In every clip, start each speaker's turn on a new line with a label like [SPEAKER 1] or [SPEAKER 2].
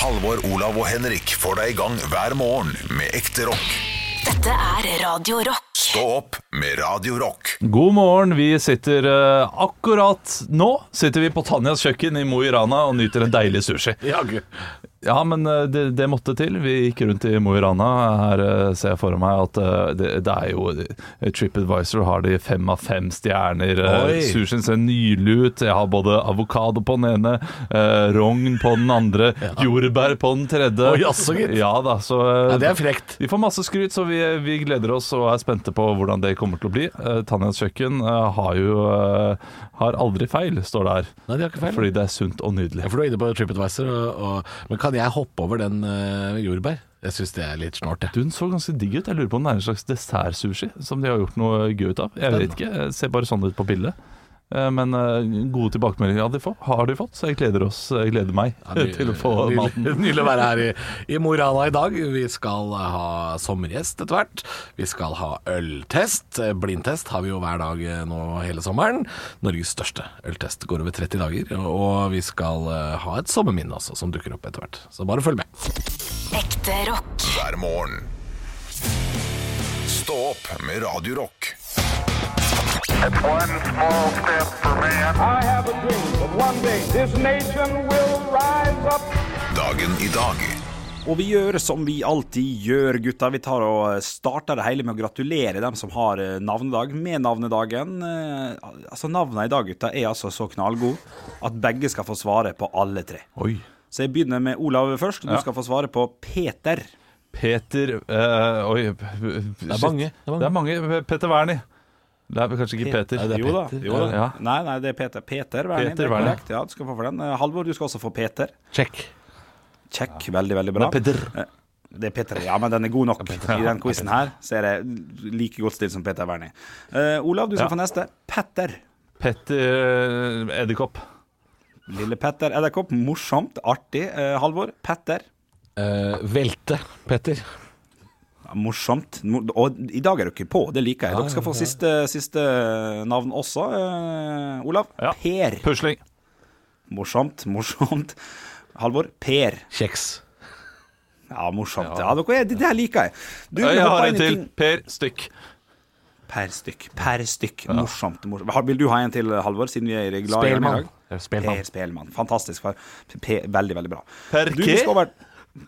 [SPEAKER 1] Halvor, Olav og Henrik får deg i gang hver morgen med ekte rock.
[SPEAKER 2] Dette er Radio Rock.
[SPEAKER 1] Stå opp med Radio Rock.
[SPEAKER 3] God morgen, vi sitter eh, akkurat nå Sitter vi på Tanjas kjøkken i Mo i Rana og nyter en deilig sushi.
[SPEAKER 4] Ja, gud.
[SPEAKER 3] Ja, men eh, det, det måtte til. Vi gikk rundt i Mo i Rana. Her eh, ser jeg for meg at eh, det, det er jo eh, TripAdvisor har de fem av fem stjerner. Eh,
[SPEAKER 4] Oi.
[SPEAKER 3] Sushien ser nydelig ut. Jeg har både avokado på den ene, eh, rogn på den andre, jordbær på den tredje.
[SPEAKER 4] Oi, jaså, gitt.
[SPEAKER 3] Ja da, så eh,
[SPEAKER 4] Ja, det er frekt.
[SPEAKER 3] vi får masse skryt, så vi, vi gleder oss og er spente på hvordan det kommer til å bli. Eh, Tanjas kjøkken eh, har jo eh, har aldri feil, står det her.
[SPEAKER 4] Nei, de har ikke feil.
[SPEAKER 3] Fordi det er sunt og
[SPEAKER 4] Ja,
[SPEAKER 3] nydelig.
[SPEAKER 4] for du er inne på TripAdvisor, og, og, men kan jeg hoppe over den eh, jordbær? Jeg syns det er litt snålt, jeg.
[SPEAKER 3] Du, Den så ganske digg ut. Jeg lurer på om det er en slags dessertsushi som de har gjort noe gøy ut av. Jeg vet ikke, det ser bare sånn ut på bildet. Eh, Men eh, gode tilbakemeldinger har de fått, har de fått så jeg gleder, oss, jeg gleder meg
[SPEAKER 4] Ja, ny-
[SPEAKER 3] til å få
[SPEAKER 4] nydelig-
[SPEAKER 3] maten.
[SPEAKER 4] Nydelig å være her i, i Mo i Rana i dag. Vi skal ha sommergjest etter hvert. Vi skal ha øltest. Eh, Blindtest har vi jo hver dag eh, nå hele sommeren. Norges største øltest går over 30 dager. Og vi skal eh, ha et sommerminne også, som dukker opp etter hvert. Så bare følg med.
[SPEAKER 2] Ekte rock.
[SPEAKER 1] Hver morgen. Stå opp med Radio Rock.
[SPEAKER 5] It's one small step for man.
[SPEAKER 6] I have a dream that one day this nation will rise up.
[SPEAKER 1] Dagen i dag.
[SPEAKER 7] Og vi gjør som vi alltid gjør, gutta. Vi tar og eh, starter det hele med å gratulere dem som har eh, navnedag, med navnedagen. Eh, Altså Navnene i dag, gutta, er altså så knallgode at begge skal få svare på alle tre.
[SPEAKER 3] Oi.
[SPEAKER 7] Så jeg begynner med Olav først. Du
[SPEAKER 3] Ja.
[SPEAKER 7] skal få svare på Peter.
[SPEAKER 3] Peter eh, Oi. Det
[SPEAKER 4] mange, det er mange.
[SPEAKER 3] Det er mange. Peter Wernie. Det er vel kanskje ikke Peter.
[SPEAKER 4] Nei, det er
[SPEAKER 7] Jo da.
[SPEAKER 4] Peter.
[SPEAKER 7] Jo da.
[SPEAKER 3] Ja.
[SPEAKER 7] Nei, nei, det er Peter. Peter Wernie.
[SPEAKER 3] Peter
[SPEAKER 7] det er
[SPEAKER 3] Wernie.
[SPEAKER 7] korrekt. Ja, du skal få for den. Eh, Halvor, du skal også få Peter.
[SPEAKER 4] Check.
[SPEAKER 7] Kjekk. Veldig, veldig bra.
[SPEAKER 3] Peter.
[SPEAKER 7] Det er Peter, ja, men den er god nok. I den quizen her så er det like godt stilt som Peter Wernie. Eh, Olav, du skal
[SPEAKER 3] Ja.
[SPEAKER 7] få neste. Petter.
[SPEAKER 3] Petter eh, Edderkopp.
[SPEAKER 7] Lille Petter Edderkopp. Morsomt, artig. Eh, Halvor. Petter.
[SPEAKER 4] Eh, velte, Petter.
[SPEAKER 7] Ja, Morsomt. Mo- Og i dag er dere på, det liker jeg. Dere skal få siste, siste navn også. Eh, Olav.
[SPEAKER 3] Ja.
[SPEAKER 7] Per.
[SPEAKER 3] Pusling.
[SPEAKER 7] Morsomt, morsomt. Halvor. Per.
[SPEAKER 4] Kjeks.
[SPEAKER 7] Ja, morsomt. Ja, dere er, det der liker jeg. Du, vi
[SPEAKER 3] Jeg
[SPEAKER 7] hopper
[SPEAKER 3] har en
[SPEAKER 7] inn i
[SPEAKER 3] til.
[SPEAKER 7] ting-
[SPEAKER 3] Per Stykk.
[SPEAKER 7] Per stykk. Per stykk. Morsomt. morsomt. Har- Vil du ha en til, Halvor, siden vi er glad i hverandre i
[SPEAKER 4] Spelmann.
[SPEAKER 7] dag? Per Spelmann. Fantastisk. far. P P- veldig, veldig bra.
[SPEAKER 3] Per
[SPEAKER 7] Du,
[SPEAKER 3] K?
[SPEAKER 7] vi skal over-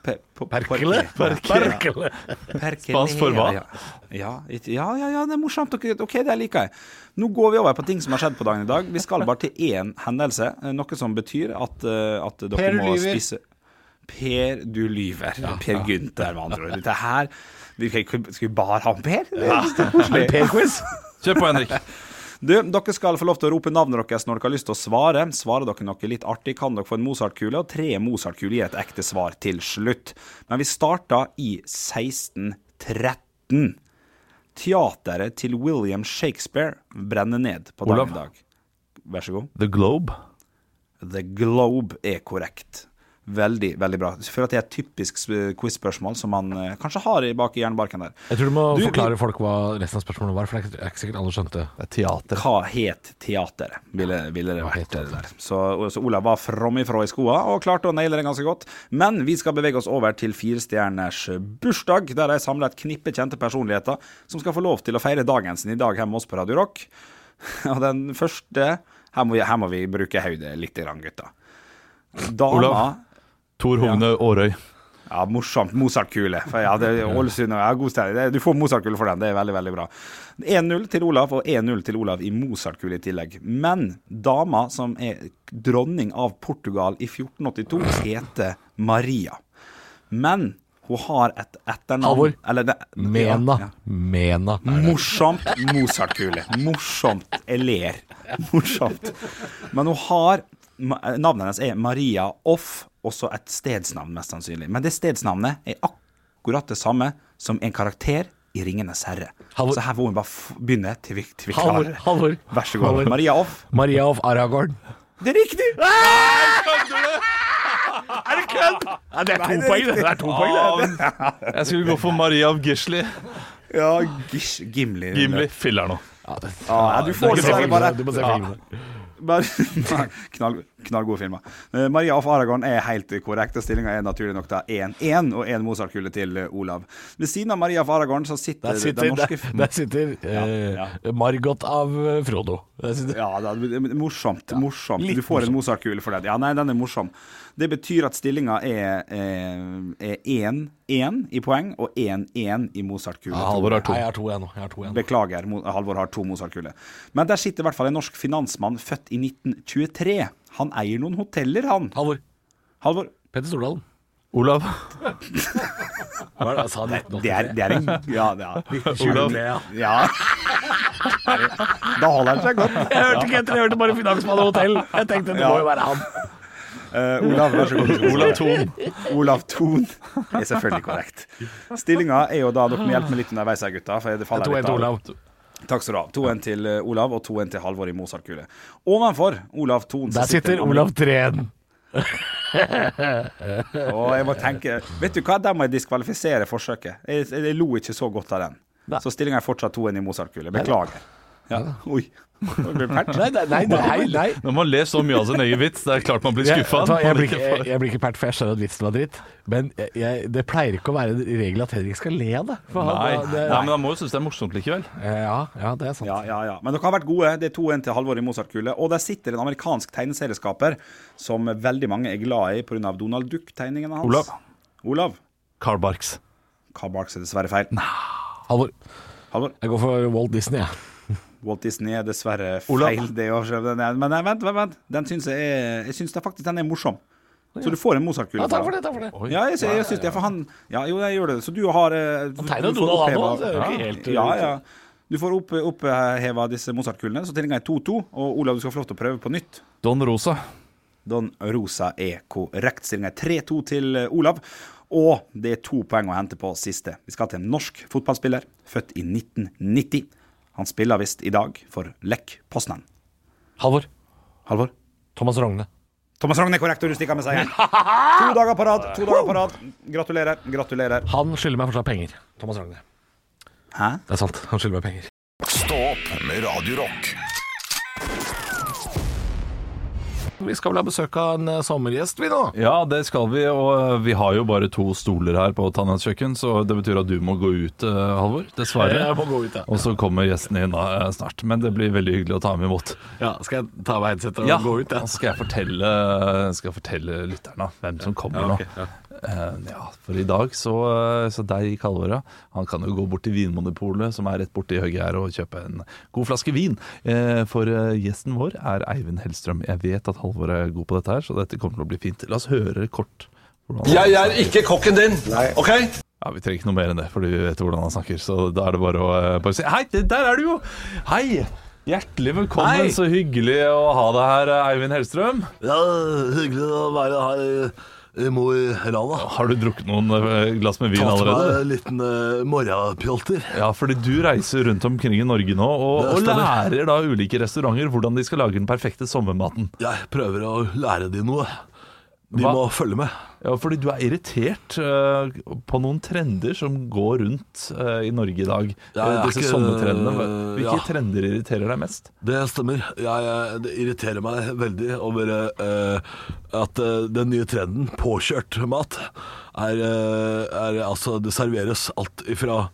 [SPEAKER 7] Pe- på-
[SPEAKER 4] Perkele.
[SPEAKER 7] Perkele.
[SPEAKER 4] Perkele.
[SPEAKER 7] Perkele.
[SPEAKER 3] Spansk for hva?
[SPEAKER 7] Ja, ja, it- ja, ja, ja, det er morsomt. Ok, ok, det liker jeg. Nå går vi over på ting som har skjedd på dagen i dag. Vi skal bare til én hendelse, eh, noe som betyr at, eh, at dere
[SPEAKER 4] Per
[SPEAKER 7] må
[SPEAKER 4] lyver.
[SPEAKER 7] spise Per, du lyver. per Gunther, med andre ord. Dette her vi kan ikke- Skal vi bare ha en Per? Det er litt koselig.
[SPEAKER 4] Per-quiz.
[SPEAKER 3] Kjør på, Henrik.
[SPEAKER 7] Du, dere skal få lov til å rope navnet deres når dere har lyst til å svare. Svarer dere noe litt artig, kan dere få en Mozart-kule, og tre Mozart-kuler gir et ekte svar til slutt. Men vi starter i 1613. Teateret til William Shakespeare brenner ned på
[SPEAKER 3] Olav.
[SPEAKER 7] dagen i dag. Vær så god.
[SPEAKER 3] The Globe.
[SPEAKER 7] The Globe er korrekt. Veldig, veldig bra. Jeg føler at det er et typisk eh, quiz-spørsmål som man eh, kanskje har i bak i jernbarken der.
[SPEAKER 4] Jeg tror du må
[SPEAKER 7] Du, vi-
[SPEAKER 4] forklare folk hva resten av spørsmålet var, for det er ikke- det er ikke sikkert alle skjønte.
[SPEAKER 3] Det er teater.
[SPEAKER 7] Hva het teateret? Ville, ville det vært det der. Så, så Olav var fromifrå i skoa og klarte å naile det ganske godt. Men vi skal bevege oss over til firestjerners bursdag, der de samler et knippe kjente personligheter som skal få lov til å feire dagen sin i dag hjemme hos oss på Radio Rock. Og den første Her må vi, her må vi bruke hodet litt, grann, gutta. Dama
[SPEAKER 3] Olav. Tor Hogne Aarøy.
[SPEAKER 7] ja, morsomt. Mozart-kule. For Ja, det er Ålesund og ja, god stemning. Det- Du får Mozart-kule for den, det er veldig, veldig bra. 1-0 til Olav, og 1-0 til Olav i Mozart-kule i tillegg. Men dama som er dronning av Portugal i 1482, heter Maria. Men hun har et etternavn
[SPEAKER 4] Halvor.
[SPEAKER 7] Eller det-
[SPEAKER 4] Mena.
[SPEAKER 7] Ja, ja.
[SPEAKER 4] Mena.
[SPEAKER 7] Morsomt Mozart-kule. Morsomt. Jeg ler. Morsomt. Men hun har ma- Navnet hennes er Maria Off, også et stedsnavn, mest sannsynlig. Men det stedsnavnet er akkurat det samme som en karakter i 'Ringenes herre'.
[SPEAKER 4] Halvor.
[SPEAKER 7] Så her må hun bare f begynne til vi, til vi klarer
[SPEAKER 4] Halvor.
[SPEAKER 7] det.
[SPEAKER 4] Halvor.
[SPEAKER 7] Vær så god.
[SPEAKER 4] Halvor.
[SPEAKER 7] Maria Off.
[SPEAKER 4] Maria of Aragorn.
[SPEAKER 7] Det er riktig!
[SPEAKER 4] Ja, det er to poeng, det. er to poeng,
[SPEAKER 3] Jeg skulle gå for Maria av Gisli.
[SPEAKER 7] Ja, Gish, Gimli.
[SPEAKER 3] Gimli filler nå.
[SPEAKER 7] Ja, du får dessverre bare
[SPEAKER 4] Du må se filmene.
[SPEAKER 7] Bare, knall, Knallgode filmer. Eh, Maria of Aragon er helt korrekt. og Stillinga er naturlig nok da 1-1 og én Mozart-kule til eh, Olav. Ved siden av Maria of Aragon så sitter,
[SPEAKER 4] Der sitter,
[SPEAKER 7] den norske
[SPEAKER 4] der, der sitter eh, Margot av eh, Frodo. Der sitter,
[SPEAKER 7] Ja, da, det er morsomt. morsomt. Du får en Mozart-kule for den. Ja, nei, den er morsom. Det betyr at stillinga er eh, er 1-1 i poeng og 1-1 i Mozart-kule.
[SPEAKER 3] Halvor har to.
[SPEAKER 4] Nei, jeg har to igjen nå. Jeg har to igjen. nå.
[SPEAKER 7] Beklager, Mo- Halvor har to Mozart-kuler. Men der sitter i hvert fall en norsk finansmann født i 1923. Han eier noen hoteller, han.
[SPEAKER 4] Halvor.
[SPEAKER 7] Halvor,
[SPEAKER 4] Petter Stordalen.
[SPEAKER 3] Olav.
[SPEAKER 4] Hva er det jeg sa? 1980?
[SPEAKER 7] det er, det er en Ja, det er.
[SPEAKER 3] Olav.
[SPEAKER 7] ja. Da holder han seg godt.
[SPEAKER 4] Jeg hørte ikke etter, jeg hørte bare Finansmann og hotell. Jeg tenkte det
[SPEAKER 7] Ja.
[SPEAKER 4] må jo være han.
[SPEAKER 7] Eh, Olav, vær så god.
[SPEAKER 3] Olav Thon.
[SPEAKER 7] Olav Thon er selvfølgelig korrekt. Stillinga er jo da Dere må hjelpe meg litt underveis her, gutta. For det faller
[SPEAKER 4] To
[SPEAKER 7] litt
[SPEAKER 4] en til
[SPEAKER 7] av.
[SPEAKER 4] Olav.
[SPEAKER 7] Takk skal du ha. 2-1 til eh, Olav og 2-1 til Halvor i Mozart-kule. Ovenfor Olav Thon så
[SPEAKER 4] Der sitter
[SPEAKER 7] en-
[SPEAKER 4] Olav Treen.
[SPEAKER 7] Og jeg må tenke Vet du hva, der må jeg diskvalifisere forsøket. Jeg, jeg, jeg lo ikke så godt av den.
[SPEAKER 4] Nei.
[SPEAKER 7] Så stillinga er fortsatt 2-1 i Mozart-kule. Beklager. Ja. Oi. Det ble fælt.
[SPEAKER 4] Nei, nei, nei. nei, nei.
[SPEAKER 3] Når man ler så mye av sin egen vits, det er klart man blir
[SPEAKER 4] Jeg,
[SPEAKER 3] skuffa.
[SPEAKER 4] vet du hva, jeg, blir ikke, jeg, jeg blir ikke pert, for jeg skjønner at vitsen var dritt. Men jeg, jeg, det pleier ikke å være en regel at Henrik skal le av det. For han-
[SPEAKER 3] Nei,
[SPEAKER 4] det- Eh,
[SPEAKER 3] nei, men han må jo synes det er morsomt likevel.
[SPEAKER 4] ja, ja, det er sant.
[SPEAKER 7] Ja, ja, ja. Men dere har vært gode. Det er 2-1 til Halvor i Mozart-kule. Og der sitter en amerikansk tegneserieskaper som veldig mange er glad i pga. Donald Duck-tegningene hans.
[SPEAKER 3] Olav.
[SPEAKER 7] Olav.
[SPEAKER 3] Carl Barks.
[SPEAKER 7] Kabarks er dessverre feil.
[SPEAKER 4] Halvor,
[SPEAKER 7] Halvor.
[SPEAKER 4] jeg går for Walt Disney, jeg.
[SPEAKER 7] Walt Disney er dessverre
[SPEAKER 3] Olav.
[SPEAKER 7] feil. Det er, jo- den er- men nei, vent, vent. vent. Den synes jeg, er, jeg synes det er faktisk den er morsom. Så du får en Mozart-kule.
[SPEAKER 4] Ja, takk for
[SPEAKER 7] for det.
[SPEAKER 4] det, takk for det.
[SPEAKER 7] Ja, jeg, sy- jeg syns det. For han Ja, jo, jeg gjør det. Så du har eh, du-
[SPEAKER 4] tegner
[SPEAKER 7] du får
[SPEAKER 4] Donald han
[SPEAKER 7] oppheva-
[SPEAKER 4] også, det er jo ikke helt, eh,
[SPEAKER 7] Ja, ja. Du får opp- oppheva disse Mozart-kulene. Så tillinga er 2-2. Og Olav, du skal få lov til å prøve på nytt.
[SPEAKER 3] Don Rosa.
[SPEAKER 7] Don Rosa er korrekt. Stillinga er 3-2 til eh, Olav. Og det er to poeng å hente på siste. Vi skal til en norsk fotballspiller, født i 1990. Han spiller visst i dag for Lech Poznan.
[SPEAKER 4] Halvor,
[SPEAKER 7] Halvor?
[SPEAKER 4] Thomas Rogne.
[SPEAKER 7] Thomas Rogn er korrekt, og du stikker med seieren. To dager på rad. to dager på rad. Gratulerer. Gratulerer.
[SPEAKER 4] Han skylder meg fortsatt penger. Thomas Rogne.
[SPEAKER 7] Hæ?
[SPEAKER 4] Det er sant, han skylder meg penger.
[SPEAKER 1] Stå opp med Radio Rock.
[SPEAKER 4] Vi skal vel ha besøk av en eh, sommergjest, vi nå.
[SPEAKER 3] Ja, det skal vi, og eh, vi har jo bare to stoler her på Tanjas kjøkken, så det betyr at du må gå ut, eh, Halvor. Dessverre.
[SPEAKER 4] Jeg må gå ut, ja.
[SPEAKER 3] Og så kommer gjesten inn da, eh, snart, men det blir veldig hyggelig å ta ham imot.
[SPEAKER 4] ja. Skal jeg ta meg headsetet og
[SPEAKER 3] Ja,
[SPEAKER 4] gå ut,
[SPEAKER 3] da
[SPEAKER 4] jeg?
[SPEAKER 3] skal jeg fortelle, skal jeg fortelle lytterne da, hvem som kommer nå. Eh, Ja, for i dag så, eh, så deg, Halvor, ja, han kan jo gå bort til Vinmonopolet, som er rett borti høyre her, og kjøpe en god flaske vin. Eh, For eh, gjesten vår er Eivind Hellstrøm. Jeg vet at Halvor er god på dette her, så dette kommer til å bli fint. La oss høre kort. hvordan han-
[SPEAKER 8] Jeg er ikke kokken din, ok?
[SPEAKER 3] Ja, Vi trenger ikke noe mer enn det, fordi vi vet hvordan han snakker. Så da er det bare å eh, bare si Hei, det- der er du jo! Hei! Hjertelig velkommen.
[SPEAKER 4] Hei!
[SPEAKER 3] Så hyggelig å ha deg her, eh, Eivind Hellstrøm.
[SPEAKER 8] Ja, hyggelig å være her i- i Mo i Rana.
[SPEAKER 3] Har du drukket noen eh, glass med vin
[SPEAKER 8] Tatt meg
[SPEAKER 3] allerede?
[SPEAKER 8] en liten uh, morgenpjolter.
[SPEAKER 3] Ja, fordi du reiser rundt omkring i Norge nå og, og
[SPEAKER 8] Det stemmer.
[SPEAKER 3] lærer da ulike restauranter hvordan de skal lage den perfekte sommermaten.
[SPEAKER 8] Jeg prøver å lære de noe. De
[SPEAKER 3] Hva?
[SPEAKER 8] må følge med.
[SPEAKER 3] Ja, fordi du er irritert eh, på noen trender som går rundt eh, i Norge i dag.
[SPEAKER 8] Ja, jeg er
[SPEAKER 3] Eh, Disse
[SPEAKER 8] ikke-
[SPEAKER 3] sommertrendene. Hvilke
[SPEAKER 8] ja.
[SPEAKER 3] trender irriterer deg mest?
[SPEAKER 8] Det stemmer. Jeg, eh, det irriterer meg veldig over eh, at eh, den nye trenden, påkjørt mat, er, eh, er altså Det serveres alt ifra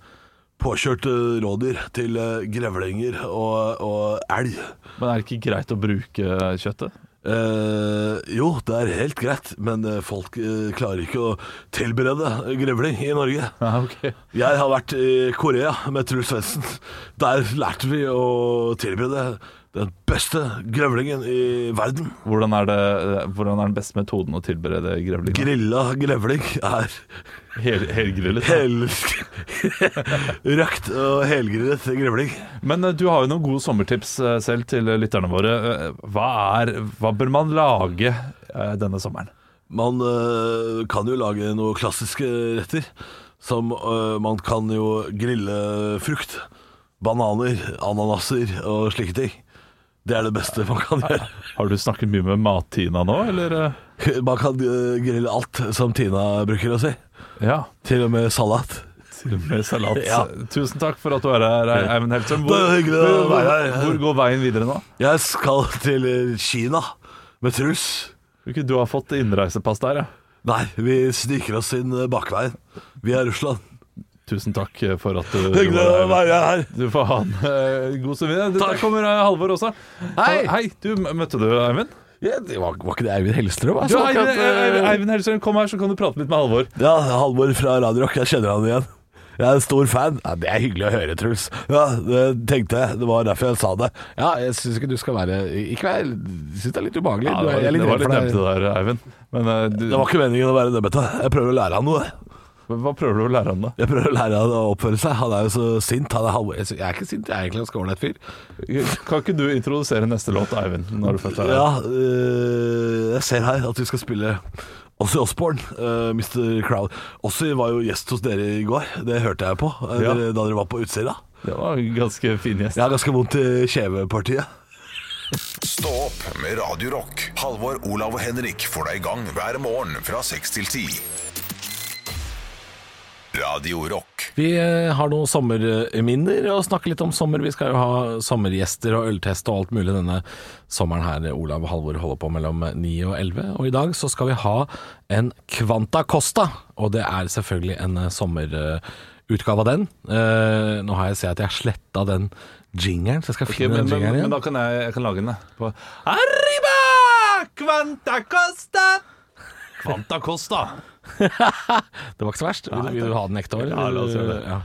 [SPEAKER 8] påkjørte rådyr til eh, grevlinger og, og elg.
[SPEAKER 3] Men er det ikke greit å bruke kjøttet?
[SPEAKER 8] Eh, jo, det er helt greit, men eh, folk eh, klarer ikke å tilberede grevling i Norge.
[SPEAKER 3] Ja, ok.
[SPEAKER 8] Jeg har vært i Korea med Truls Svendsen. Der lærte vi å tilberede den beste grevlingen i verden.
[SPEAKER 3] Hvordan er, det, eh, hvordan er den beste metoden å tilberede grevling?
[SPEAKER 8] Grilla grevling er
[SPEAKER 3] Hel, helgrillet.
[SPEAKER 8] hel... Røkt og helgrillet grevling.
[SPEAKER 3] Men eh, du har jo noen gode sommertips eh, selv til eh, lytterne våre. Eh, Hva, er, hva bør man lage eh, denne sommeren?
[SPEAKER 8] Man eh, kan jo lage noen klassiske retter. Som eh, Man kan jo grille frukt. Bananer, ananaser og slike ting. Det er det beste man kan gjøre.
[SPEAKER 3] Har du snakket mye med Mat-Tina nå, eller? eh?
[SPEAKER 8] Man kan eh, grille alt, som Tina bruker å si.
[SPEAKER 3] Ja,
[SPEAKER 8] Til og med salat.
[SPEAKER 3] til og med salat.
[SPEAKER 8] Ja.
[SPEAKER 3] Tusen takk for at du er her, Ei- Eivind Hellstrøm.
[SPEAKER 8] Det er hyggelig å
[SPEAKER 3] hvor,
[SPEAKER 8] være her.
[SPEAKER 3] hvor går veien videre nå?
[SPEAKER 8] Jeg skal til eh, Kina med Truls.
[SPEAKER 3] Tror ikke du har fått innreisepass der, ja.
[SPEAKER 8] Nei, vi sniker oss inn eh, bakveien. Vi er Russland.
[SPEAKER 3] Tusen takk eh, for at du
[SPEAKER 8] Hyggelig å
[SPEAKER 3] var her.
[SPEAKER 8] være her.
[SPEAKER 3] Du får ha en eh, god sovjet. Der kommer eh, Halvor også.
[SPEAKER 4] Hei.
[SPEAKER 3] Hei, du, m- Møtte du Eivind?
[SPEAKER 4] Ja, det var, var ikke det Eivind Hellstrøm?
[SPEAKER 3] Du,
[SPEAKER 4] Altså,
[SPEAKER 3] Eivind,
[SPEAKER 4] akkurat, eh,
[SPEAKER 3] Eivind- Eivind Hellstrøm, kom her, så kan du prate litt med Halvor.
[SPEAKER 8] Ja, Halvor fra Radio Rock. Jeg kjenner han igjen. Jeg er en stor fan.
[SPEAKER 4] ja, det er hyggelig å høre, Truls.
[SPEAKER 8] Ja, det tenkte jeg. Det var derfor jeg sa det.
[SPEAKER 4] Ja, jeg syns ikke du skal være Ikke vær Jeg syns det er litt ubehagelig.
[SPEAKER 3] Ja,
[SPEAKER 4] du
[SPEAKER 3] det
[SPEAKER 4] er,
[SPEAKER 3] var
[SPEAKER 4] jeg er
[SPEAKER 3] litt,
[SPEAKER 4] litt
[SPEAKER 3] det var
[SPEAKER 4] redd
[SPEAKER 3] litt
[SPEAKER 4] for deg.
[SPEAKER 3] nevnte der, Eivind. Men eh, du,
[SPEAKER 8] Det var ikke meningen å være nebbete. Jeg prøver å lære han noe.
[SPEAKER 3] hva prøver du å lære han, da?
[SPEAKER 8] Jeg prøver å lære han å oppføre seg. Han er jo så sint. Han er Halvor.
[SPEAKER 4] Jeg sy- jeg er ikke sint, jeg er egentlig en ganske ålreit fyr.
[SPEAKER 3] Kan ikke du introdusere neste låt, Eivind? Når du først er her?
[SPEAKER 8] Ja, øh, jeg ser her at vi skal spille Ozzy Osbourne, øh, Mr. Crowd. Ozzy var jo gjest hos dere i går, det hørte jeg på
[SPEAKER 3] Ja.
[SPEAKER 8] eller, da dere var på utsida.
[SPEAKER 3] Det var en ganske fin gjest.
[SPEAKER 8] Jeg har ganske vondt i kjevepartiet.
[SPEAKER 1] Stå opp med Radio Rock. Halvor, Olav og Henrik får deg i gang hver morgen fra 6 til 10. Radio Rock.
[SPEAKER 4] Vi eh, har noen sommerminner og snakker litt om sommer. Vi skal jo ha sommergjester og øltest og alt mulig denne sommeren her eh, Olav og Halvor holder på mellom 9 og 11. Og i dag så skal vi ha en Kvanta Costa, og det er selvfølgelig en eh, sommerutgave av den. Eh, Nå har jeg sett at jeg har sletta den jingeren, så jeg skal
[SPEAKER 3] Ok,
[SPEAKER 4] finne
[SPEAKER 3] men,
[SPEAKER 4] den
[SPEAKER 3] men,
[SPEAKER 4] jingeren
[SPEAKER 3] men
[SPEAKER 4] igjen.
[SPEAKER 3] da kan jeg, jeg kan lage den, jeg. På Arriba! Quanta Costa! Quanta Costa.
[SPEAKER 4] Det var ikke så verst. Vil du, vil du ha den ekte òg?
[SPEAKER 3] Ja, la oss gjøre det.
[SPEAKER 4] Ja.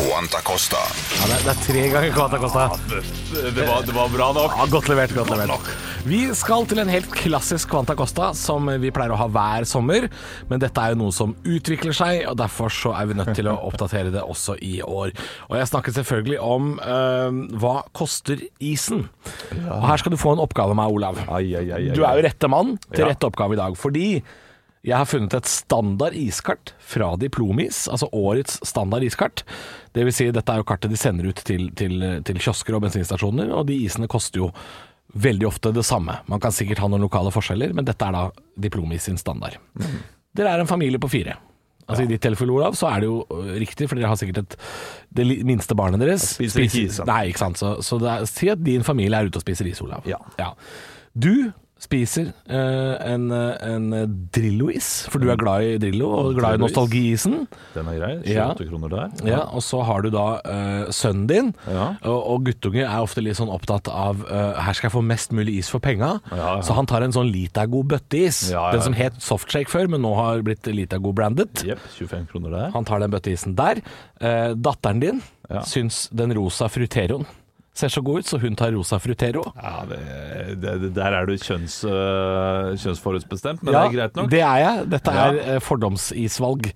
[SPEAKER 1] Quanta Costa.
[SPEAKER 4] Ja, det, er, det er tre ganger Kvanta Costa.
[SPEAKER 3] Det var, det var bra nok.
[SPEAKER 4] Ja, godt levert, godt levert. Vi skal til en helt klassisk Quanta Costa, som vi pleier å ha hver sommer. Men dette er jo noe som utvikler seg, og derfor så er vi nødt til å oppdatere det også i år. Og jeg snakker selvfølgelig om eh, hva koster isen. Og her skal du få en oppgave av meg, Olav. Du er jo rette mann til rette oppgave i dag, fordi jeg har funnet et standard iskart fra Diplomis, altså årets standard iskart. Det vil si, dette er jo kartet de sender ut til, til, til kiosker og bensinstasjoner, og de isene koster jo veldig ofte det samme. Man kan sikkert ha noen lokale forskjeller, men dette er da Diplomis sin standard. Dere er en familie på fire. Altså I ditt tilfelle, Olav, så er det jo ø, riktig, for dere har sikkert et, det li- minste barnet deres
[SPEAKER 3] spiser ikke is, da.
[SPEAKER 4] Nei, ikke sant. Så, så det er, si at din familie er ute og spiser is, Olav.
[SPEAKER 3] Ja.
[SPEAKER 4] Du spiser eh, en, en Drillo-is, for du er glad i Drillo og glad i
[SPEAKER 3] Mm. Drillo-is.
[SPEAKER 4] nostalgiisen.
[SPEAKER 3] Den er grei.
[SPEAKER 4] Ja.
[SPEAKER 3] 28 kroner der.
[SPEAKER 4] Ja, og så har du da eh, sønnen din,
[SPEAKER 3] Ja.
[SPEAKER 4] og, og guttunge er ofte litt sånn opptatt av eh, Her skal jeg få mest mulig is for penga.
[SPEAKER 3] Ja, ja.
[SPEAKER 4] Så han tar en sånn Litago bøtteis.
[SPEAKER 3] Ja, ja.
[SPEAKER 4] Den som het Softshake før, men nå har blitt Litago-brandet.
[SPEAKER 3] Jepp, 25 kroner der.
[SPEAKER 4] Han tar den bøtteisen der. Eh, datteren din
[SPEAKER 3] Ja.
[SPEAKER 4] syns den rosa fruteroen ser så god ut, så hun tar rosa frutero.
[SPEAKER 3] Ja, det, det, det, Der er du kjønns, øh, kjønnsforutbestemt, men det er greit nok.
[SPEAKER 4] det er jeg. Dette
[SPEAKER 3] Ja.
[SPEAKER 4] er eh, fordomsisvalg.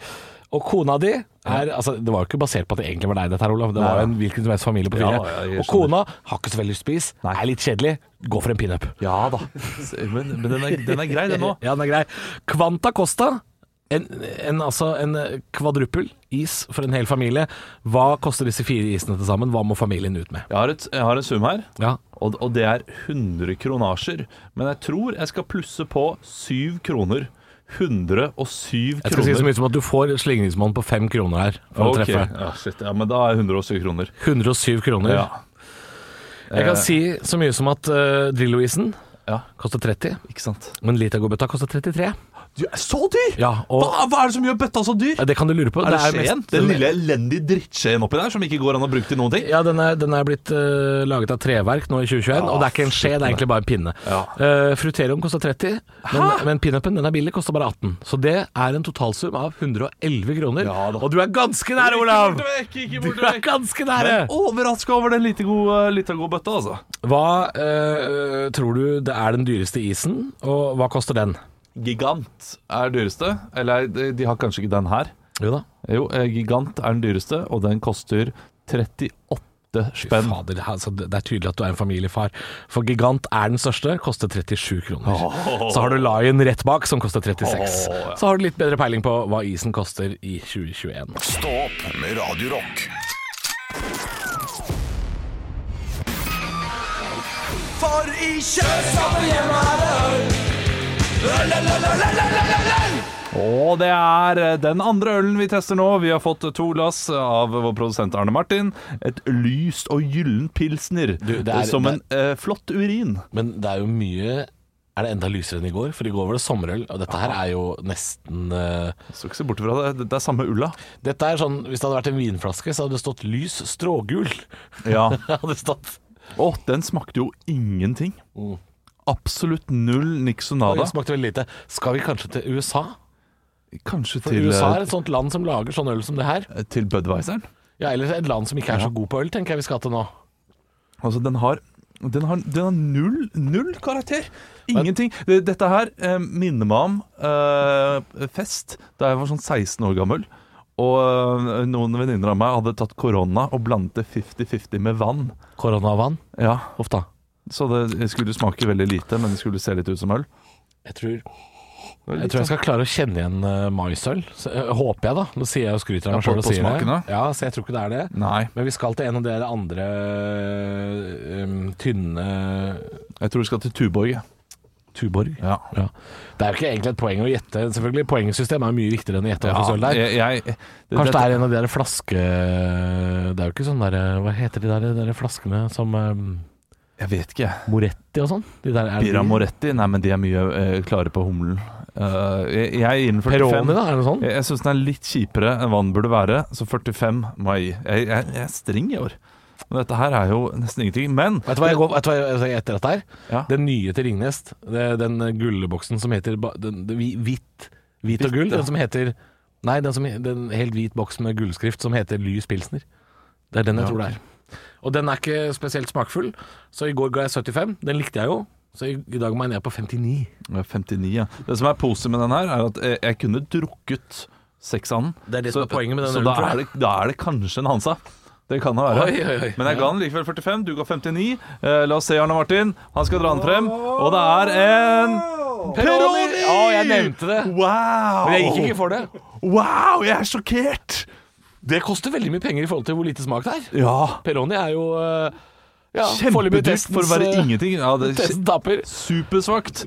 [SPEAKER 4] Og kona di er altså, Det var jo ikke basert på at det egentlig var deg, dette her, Olav. Det var jo en hvilken som helst familie på
[SPEAKER 3] Ja,
[SPEAKER 4] fire.
[SPEAKER 3] ja, jeg
[SPEAKER 4] og
[SPEAKER 3] skjønner.
[SPEAKER 4] kona har ikke så veldig lyst til å spise. Er litt kjedelig. Gå for en pinup.
[SPEAKER 3] Ja da. S- Men, men den, er, den er grei, den òg.
[SPEAKER 4] Ja, den er grei. Kvanta Costa. En, en, altså en kvadruppel is for en hel familie. Hva koster disse fire isene til sammen? Hva må familien ut med?
[SPEAKER 3] Jeg, har et- jeg har en sum her.
[SPEAKER 4] Ja,
[SPEAKER 3] Og, og det er 100 kronasjer. Men jeg tror jeg skal plusse på 7 kroner. 107
[SPEAKER 4] jeg skal si så
[SPEAKER 3] kroner.
[SPEAKER 4] mye som at du får slingringsmonn på fem kroner her for å
[SPEAKER 3] Ok,
[SPEAKER 4] treffe.
[SPEAKER 3] Ja, shit, ja, men da er 107 kroner.
[SPEAKER 4] 107 kroner.
[SPEAKER 3] Ja,
[SPEAKER 4] Jeg
[SPEAKER 3] Eh.
[SPEAKER 4] kan si så mye som at eh, Drillo-isen
[SPEAKER 3] Ja.
[SPEAKER 4] koster 30.
[SPEAKER 3] ikke sant.
[SPEAKER 4] Men Litago-bøtta koster 33.
[SPEAKER 3] Du er så dyr!
[SPEAKER 4] Ja, og
[SPEAKER 3] hva, hva er det som gjør bøtta så dyr?
[SPEAKER 4] Ja, Eh, det kan du lure på.
[SPEAKER 3] Er det,
[SPEAKER 4] mest-
[SPEAKER 3] skjeen? Den lille elendige drittskjeen oppi der som ikke går an å bruke til noen ting?
[SPEAKER 4] Ja, den er, den er blitt eh, laget av treverk nå i 2021, og det er ikke en skje, det er egentlig bare en pinne.
[SPEAKER 3] Ja.
[SPEAKER 4] Eh, fruteroen koster 30, men, men pinupen den er billig, koster bare 18. Så det er en totalsum av 111 kroner.
[SPEAKER 3] Ja da.
[SPEAKER 4] og du er ganske nære, Olav!
[SPEAKER 3] Ikke
[SPEAKER 4] Du
[SPEAKER 3] bort
[SPEAKER 4] er
[SPEAKER 3] vekk!
[SPEAKER 4] ganske nære!
[SPEAKER 3] Overraska over den lite gode, lite gode bøtta, altså.
[SPEAKER 4] Hva eh, tror du det er den dyreste isen, og hva koster den?
[SPEAKER 3] Gigant er dyreste. Eller de, de har kanskje ikke den her.
[SPEAKER 4] Jo da.
[SPEAKER 3] Jo, eh, Gigant er den dyreste, og den koster 38 spenn.
[SPEAKER 4] Fader, altså, det det er tydelig at du er en familiefar. For Gigant er den største, koster 37 kroner. Så har du Lion rett bak, som koster 36.
[SPEAKER 3] Åh, ja.
[SPEAKER 4] Så har du litt bedre peiling på hva isen koster i 2021.
[SPEAKER 1] Stå opp med Radio Rock.
[SPEAKER 3] Og det er eh, den andre ølen vi tester nå. Vi har fått to glass av vår produsent Arne Martin. Et lyst og gyllen pilsner
[SPEAKER 4] Du, det er-
[SPEAKER 3] eh, som
[SPEAKER 4] det-
[SPEAKER 3] en eh, flott urin.
[SPEAKER 4] Men det er jo mye Er det enda lysere enn i går? For i går var det sommerøl, og dette her er jo nesten eh,
[SPEAKER 3] Skal ikke se bort fra det. Det er samme ulla.
[SPEAKER 4] Dette er sånn Hvis det hadde vært en vinflaske, så hadde det stått lys strågul.
[SPEAKER 3] Ja.
[SPEAKER 4] hadde det stått
[SPEAKER 3] Og den smakte jo ingenting. Absolutt null
[SPEAKER 4] Oi,
[SPEAKER 3] Nixonada.
[SPEAKER 4] Det smakte veldig lite. Skal vi kanskje til USA?
[SPEAKER 3] Kanskje
[SPEAKER 4] For
[SPEAKER 3] til,
[SPEAKER 4] USA er
[SPEAKER 3] eh,
[SPEAKER 4] et sånt land som lager sånn øl som det her.
[SPEAKER 3] til Budwiseren.
[SPEAKER 4] Ja, Eller et land som ikke er så god på øl, tenker jeg vi skal til nå.
[SPEAKER 3] Altså, den har, den har, den har null, null karakter. Ingenting. Det- Dette her eh, minner meg om eh, fest da jeg var sånn 16 år gammel. Og eh, noen venninner av meg hadde tatt korona og blandet det 50-50 med vann.
[SPEAKER 4] Koronavann.
[SPEAKER 3] Ja,
[SPEAKER 4] Huff da.
[SPEAKER 3] Så det skulle smake veldig lite, men det skulle se litt ut som øl.
[SPEAKER 4] Jeg tror jeg tror jeg skal klare å kjenne igjen eh, maisøl. Så, eh, håper jeg, da. Nå sier jeg og skryter
[SPEAKER 3] Ja,
[SPEAKER 4] av meg
[SPEAKER 3] på-
[SPEAKER 4] sjøl og
[SPEAKER 3] på
[SPEAKER 4] sier
[SPEAKER 3] smaken, da?
[SPEAKER 4] det. Ja, så jeg tror ikke det er det.
[SPEAKER 3] Nei.
[SPEAKER 4] Men vi skal til en av dere andre eh, tynne
[SPEAKER 3] Jeg tror vi skal til Tuborg. jeg.
[SPEAKER 4] Tuborg.
[SPEAKER 3] Ja.
[SPEAKER 4] Ja. Det er jo ikke egentlig et poeng å gjette. Selvfølgelig, Poengsystemet er mye viktigere enn å gjette hva slags øl det er.
[SPEAKER 3] jeg, jeg, det,
[SPEAKER 4] Kanskje det
[SPEAKER 3] dette-
[SPEAKER 4] er en av de der flaske... Det er jo ikke sånn der Hva heter de der, de der flaskene som eh,
[SPEAKER 3] Jeg vet ikke.
[SPEAKER 4] Moretti og sånn? De der, er det de-
[SPEAKER 3] Bira Moretti? Nei, men de er mye eh, klare på humlen. Eh, jeg, jeg er innen 45.
[SPEAKER 4] Peroni, da? Er det sånn?
[SPEAKER 3] Jeg, jeg syns den er litt kjipere enn hva den burde være, så 45 må jeg gi. Jeg, jeg, jeg er streng i år. Men dette her er jo nesten ingenting. Men
[SPEAKER 4] Vet du hva jeg går vet du hva jeg- altså, jeg etter dette her?
[SPEAKER 3] Ja.
[SPEAKER 4] Den nye til Ringnes, det- den gulleboksen som heter ba- den, den, hvi- Hvitt Hvit og gull, den som heter Nei, den, som, den helt hvit boksen med gullskrift som heter Lys Pilsner. Det er den jeg tror det er. Og den er ikke spesielt smakfull, så i går ga jeg 75. Den likte jeg jo, så i, i dag må jeg ned på 59.
[SPEAKER 3] Ja, 59, ja. Det som er positivt med den her, er at jeg, jeg kunne drukket seks av den.
[SPEAKER 4] Det er det som er poenget med den
[SPEAKER 3] Så
[SPEAKER 4] ølen,
[SPEAKER 3] da
[SPEAKER 4] tror jeg.
[SPEAKER 3] er, det, da er det kanskje en Hansa. Det kan det være.
[SPEAKER 4] Oi, oi, oi.
[SPEAKER 3] Men jeg ga den likevel 45. Du ga 59. Eh, la oss se, Arne Martin. Han skal dra den frem. Og det er en Peroni!
[SPEAKER 4] Å, jeg nevnte det!
[SPEAKER 3] Wow!
[SPEAKER 4] Men jeg gikk ikke for det.
[SPEAKER 3] Wow, jeg er sjokkert!
[SPEAKER 4] Det koster veldig mye penger i forhold til hvor lite smak det er.
[SPEAKER 3] Ja.
[SPEAKER 4] Peroni er jo eh, ja, foreløpig
[SPEAKER 3] Kjempedyrt for å
[SPEAKER 4] testens,
[SPEAKER 3] være
[SPEAKER 4] eh,
[SPEAKER 3] ingenting. Ja, det er
[SPEAKER 4] Testen taper.
[SPEAKER 3] supersvakt.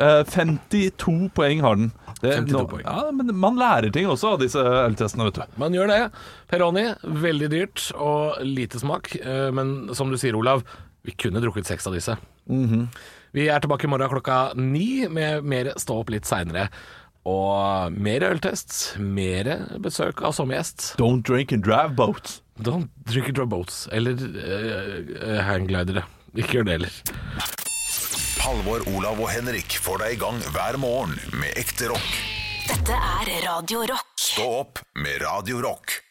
[SPEAKER 3] Eh, 52 poeng har den. Det,
[SPEAKER 4] 52
[SPEAKER 3] nå-
[SPEAKER 4] poeng.
[SPEAKER 3] Ja, men man lærer ting også av disse øltestene, vet du.
[SPEAKER 4] Man gjør det. Peroni, veldig dyrt og lite smak. Eh, Men som du sier, Olav, vi kunne drukket seks av disse. Mhm. Vi er tilbake i morgen klokka ni med mer Stå opp litt seinere. Og mer øltest, mer besøk av sommergjest.
[SPEAKER 3] Don't drink and drive boats.
[SPEAKER 4] Don't drink it or boats. Eller uh, hangglidere. Ikke gjør det heller.
[SPEAKER 1] Halvor, Olav og Henrik får deg i gang hver morgen med ekte rock.
[SPEAKER 2] Dette er Radio Rock.
[SPEAKER 1] Stå opp med Radio Rock.